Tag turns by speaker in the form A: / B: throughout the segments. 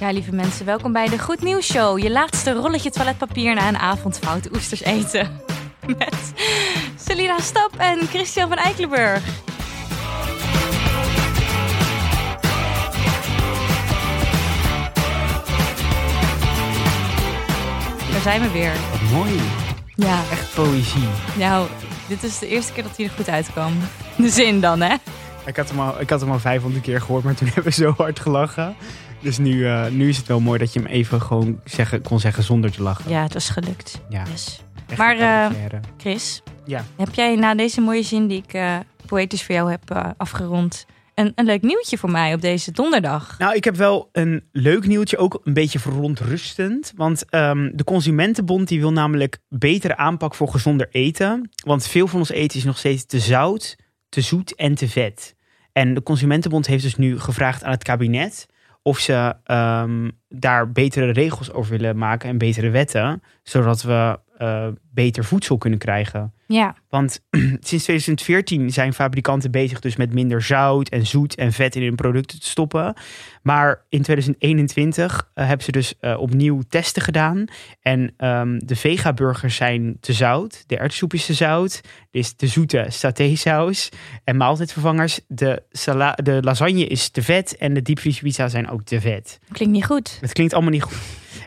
A: Ja, lieve mensen, welkom bij de Goed Nieuws Show. Je laatste rolletje toiletpapier na een avond fout oesters eten. Met Celina Stap en Christian van Eikelenburg. Daar zijn we weer.
B: Wat mooi.
A: Ja,
B: Echt poëzie.
A: nou, dit is de eerste keer dat hij er goed uitkwam. De zin dan, hè?
B: Ik had, hem al, ik had hem al 500 keer gehoord, maar toen hebben we zo hard gelachen. Dus nu, eh, nu is het wel mooi dat je hem even gewoon zeggen, kon zeggen zonder te lachen.
A: Ja, het was gelukt.
B: Ja,
A: Yes.
B: echt
A: maar,
B: een cabaretière.
A: Chris,
B: Ja.
A: heb jij na deze mooie zin die ik eh, poëtisch voor jou heb eh, afgerond... Een, een leuk nieuwtje voor mij op deze donderdag?
B: Nou, ik heb wel een leuk nieuwtje, ook een beetje verontrustend. Want ehm, de Consumentenbond die wil namelijk betere aanpak voor gezonder eten. Want veel van ons eten is nog steeds te zout, te zoet en te vet. En de Consumentenbond heeft dus nu gevraagd aan het kabinet of ze ehm, daar betere regels over willen maken en betere wetten. Zodat we eh, beter voedsel kunnen krijgen.
A: Ja,
B: Want sinds 2014 zijn fabrikanten bezig dus met minder zout en zoet en vet in hun producten te stoppen. Maar in 2021 eh, hebben ze dus eh, opnieuw testen gedaan. En ehm, de vegaburgers zijn te zout, de erwtensoep is te zout, er is te zoete satésaus en maaltijdvervangers. De, sala- de lasagne is te vet en de diepvriespizza zijn ook te vet.
A: klinkt niet goed.
B: Het klinkt allemaal niet goed.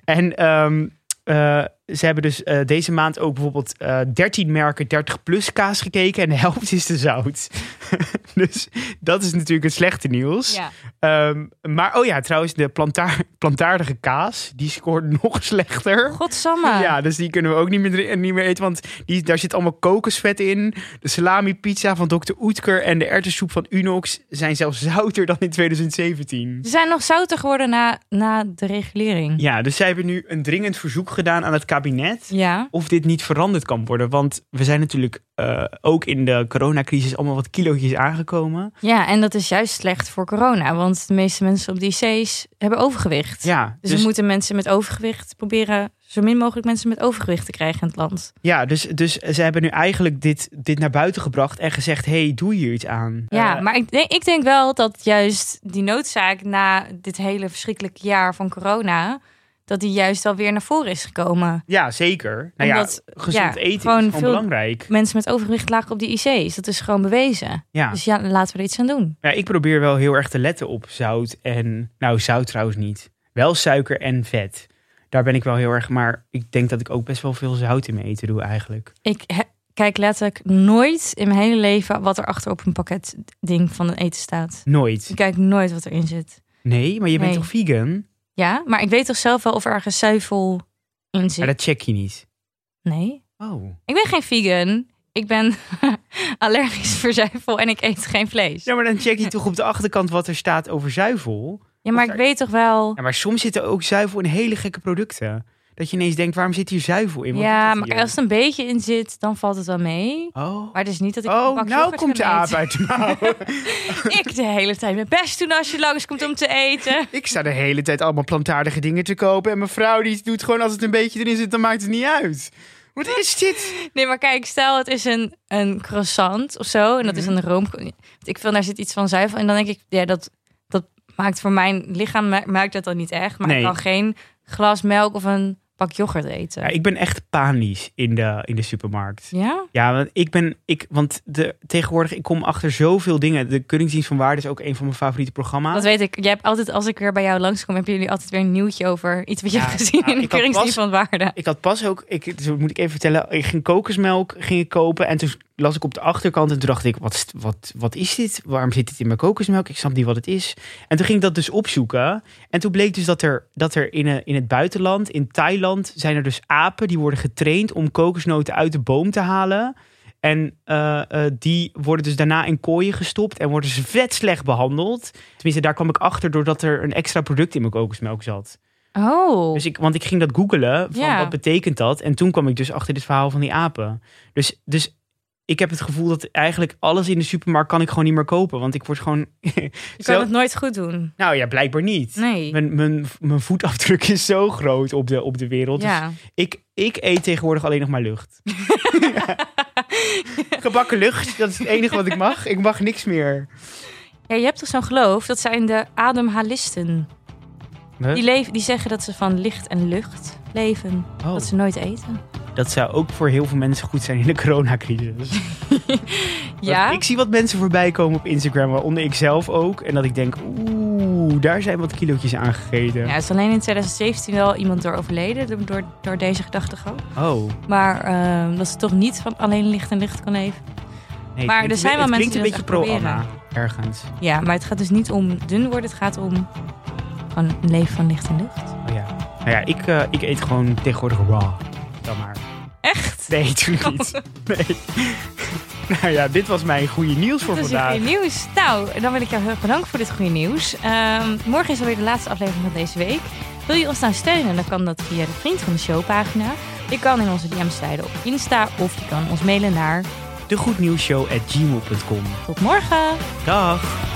B: En ehm, eh, ze hebben dus eh, deze maand ook bijvoorbeeld eh 13 merken 30 plus kaas gekeken en de helft is te zout. dus dat is natuurlijk het slechte nieuws.
A: Ja.
B: Ehm, maar oh ja, trouwens, de plantaar, plantaardige kaas, die scoort nog slechter.
A: Godsamme.
B: Ja, dus die kunnen we ook niet meer, drin- niet meer eten, want die, daar zit allemaal kokosvet in. De salami pizza van Dr. Oetker en de erwtensoep van Unox zijn zelfs zouter dan in 2017.
A: Ze zijn nog zouter geworden na, na de regulering.
B: Ja, dus zij hebben nu een dringend verzoek gedaan aan het kabinet
A: Ja.
B: of dit niet veranderd kan worden. Want we zijn natuurlijk eh, ook in de coronacrisis allemaal wat kilootjes aangekomen.
A: Ja, en dat is juist slecht voor corona. Want de meeste mensen op de IC's hebben overgewicht.
B: Ja,
A: Dus,
B: dus,
A: we moeten mensen met overgewicht proberen zo min mogelijk mensen met overgewicht te krijgen in het land.
B: ja, dus, dus ze hebben nu eigenlijk dit, dit naar buiten gebracht en gezegd, hey, doe hier iets aan.
A: Ja,
B: Eh,
A: maar ik denk, ik denk wel dat juist die noodzaak na dit hele verschrikkelijke jaar van corona, dat die juist wel weer naar voren is gekomen.
B: ja, zeker. Nou
A: Omdat,
B: ja, gezond
A: ja,
B: eten
A: gewoon
B: is gewoon
A: veel-
B: belangrijk.
A: Mensen met overgewicht lagen op de IC's, dat is gewoon bewezen.
B: Ja.
A: Dus ja, laten we er iets aan doen.
B: ja, ik probeer wel heel erg te letten op zout en... Nou, zout trouwens niet. Wel suiker en vet. Daar ben ik wel heel erg... Maar ik denk dat ik ook best wel veel zout in mijn eten doe eigenlijk.
A: Ik he- kijk letterlijk nooit in mijn hele leven wat er achter op een pakket ding van het eten staat.
B: Nooit.
A: Ik kijk nooit wat erin zit.
B: Nee, maar je bent
A: Nee.
B: toch vegan?
A: Ja, maar ik weet toch zelf wel of er ergens zuivel in
B: Maar
A: zit.
B: dat check je niet.
A: Nee.
B: Oh.
A: Ik ben geen vegan. Ik ben allergisch voor zuivel en ik eet geen vlees.
B: Ja, maar dan check je toch op de achterkant wat er staat over zuivel.
A: Ja, maar ik weet toch wel.
B: Ja, maar soms zitten ook zuivel in hele gekke producten. Dat je ineens denkt, waarom zit hier zuivel in? Wat doet
A: Ja,
B: dat
A: maar
B: hier?
A: als het een beetje in zit, dan valt het wel mee.
B: Oh,
A: Maar het is niet dat ik een
B: oh
A: pak
B: nou
A: yoghurt
B: komt de
A: kan
B: aap
A: eten.
B: uit de mouw.
A: Ik de hele tijd mijn best doen als je langskomt om te eten.
B: Ik sta de hele tijd allemaal plantaardige dingen te kopen. En mijn vrouw die doet gewoon als het een beetje erin zit, dan maakt het niet uit. Wat is dit?
A: Nee, maar kijk, stel het is een, een croissant of zo. En dat
B: Mhm.
A: is een room. want Ik vind daar zit iets van zuivel. En dan denk ik, ja, dat, dat maakt voor mijn lichaam ma- maakt dat dan niet echt. Maar
B: Nee.
A: ik kan geen glas melk of een pak yoghurt eten.
B: Ja,
A: Ja?
B: ik ben echt panisch in de, in de supermarkt. Ja, want ik ben, ik, want de, tegenwoordig, ik kom achter zoveel dingen. De Keuringsdienst van Waarde is ook een van mijn favoriete programma's.
A: Dat weet ik. Jij hebt altijd, als ik weer bij jou langskom, hebben jullie altijd weer een nieuwtje over iets wat je
B: Ja,
A: hebt gezien
B: nou,
A: in de
B: ik had
A: keuringsdienst van waarde.
B: Ik had pas ook, ik, dus moet ik even vertellen, ik ging kokosmelk ging ik kopen en toen las ik op de achterkant en toen dacht ik, wat, is- wat, wat is dit? Waarom zit dit in mijn kokosmelk? Ik snap niet wat het is. En toen ging ik dat dus opzoeken en toen bleek dus dat er, dat er in, eh, in het buitenland, in Thailand, zijn er dus apen die worden getraind om kokosnoten uit de boom te halen. En eh, eh, die worden dus daarna in kooien gestopt en worden ze vet slecht behandeld. Tenminste, daar kwam ik achter doordat er een extra product in mijn kokosmelk zat.
A: Oh.
B: Dus ik, want ik ging dat googelen, van
A: Ja.
B: wat betekent dat? En toen kwam ik dus achter dit verhaal van die apen. Dus, dus ik heb het gevoel dat eigenlijk alles in de supermarkt kan ik gewoon niet meer kopen. Want ik word gewoon...
A: Je kan
B: zelf-
A: het nooit goed doen.
B: Nou ja, blijkbaar niet.
A: Nee.
B: Mijn, mijn, mijn voetafdruk is zo groot op de, op de wereld. Dus
A: Ja.
B: ik, ik eet tegenwoordig alleen nog maar lucht. Gebakken lucht, dat is het enige wat ik mag. Ik mag niks meer.
A: ja. Je hebt toch zo'n geloof? Dat zijn de ademhalisten.
B: Huh?
A: Die, leven, die zeggen dat ze van licht en lucht leven.
B: Oh,
A: Dat ze nooit eten.
B: dat zou ook voor heel veel mensen goed zijn in de coronacrisis.
A: Ja,
B: Want Ik zie wat mensen voorbij komen op Instagram, waaronder ik zelf ook. En dat ik denk, oeh, daar zijn wat kilootjes aangegeten.
A: ja, er is alleen in 2017 wel iemand door overleden. door- Door, door deze gedachtegang.
B: Oh,
A: Maar ehm, dat ze toch niet van alleen licht en lucht kan leven.
B: nee,
A: Maar
B: het klinkt-
A: er zijn wel
B: het
A: mensen
B: klinkt
A: die dat
B: een beetje
A: echt
B: pro-Anna, ergens.
A: Ja, maar het gaat dus niet om dun worden. Het gaat om gewoon een leven van licht en lucht.
B: Oh ja. Nou ja, ik, eh, ik eet gewoon tegenwoordig raw. Dan maar.
A: Echt? Oh.
B: Nee, natuurlijk niet. Nee. nou ja, dit was mijn goede nieuws voor
A: Dat is weer
B: vandaag.
A: goede nieuws. Nou, dan wil ik jou heel erg bedanken voor dit goede nieuws. Ehm, morgen is alweer de laatste aflevering van deze week. Wil je ons nou steunen, dan kan dat via de Vriend van de Show pagina. Je kan in onze DM's sliden op Insta of je kan ons mailen naar
B: De goednieuwsshow at gmail.com.
A: tot morgen.
B: Dag!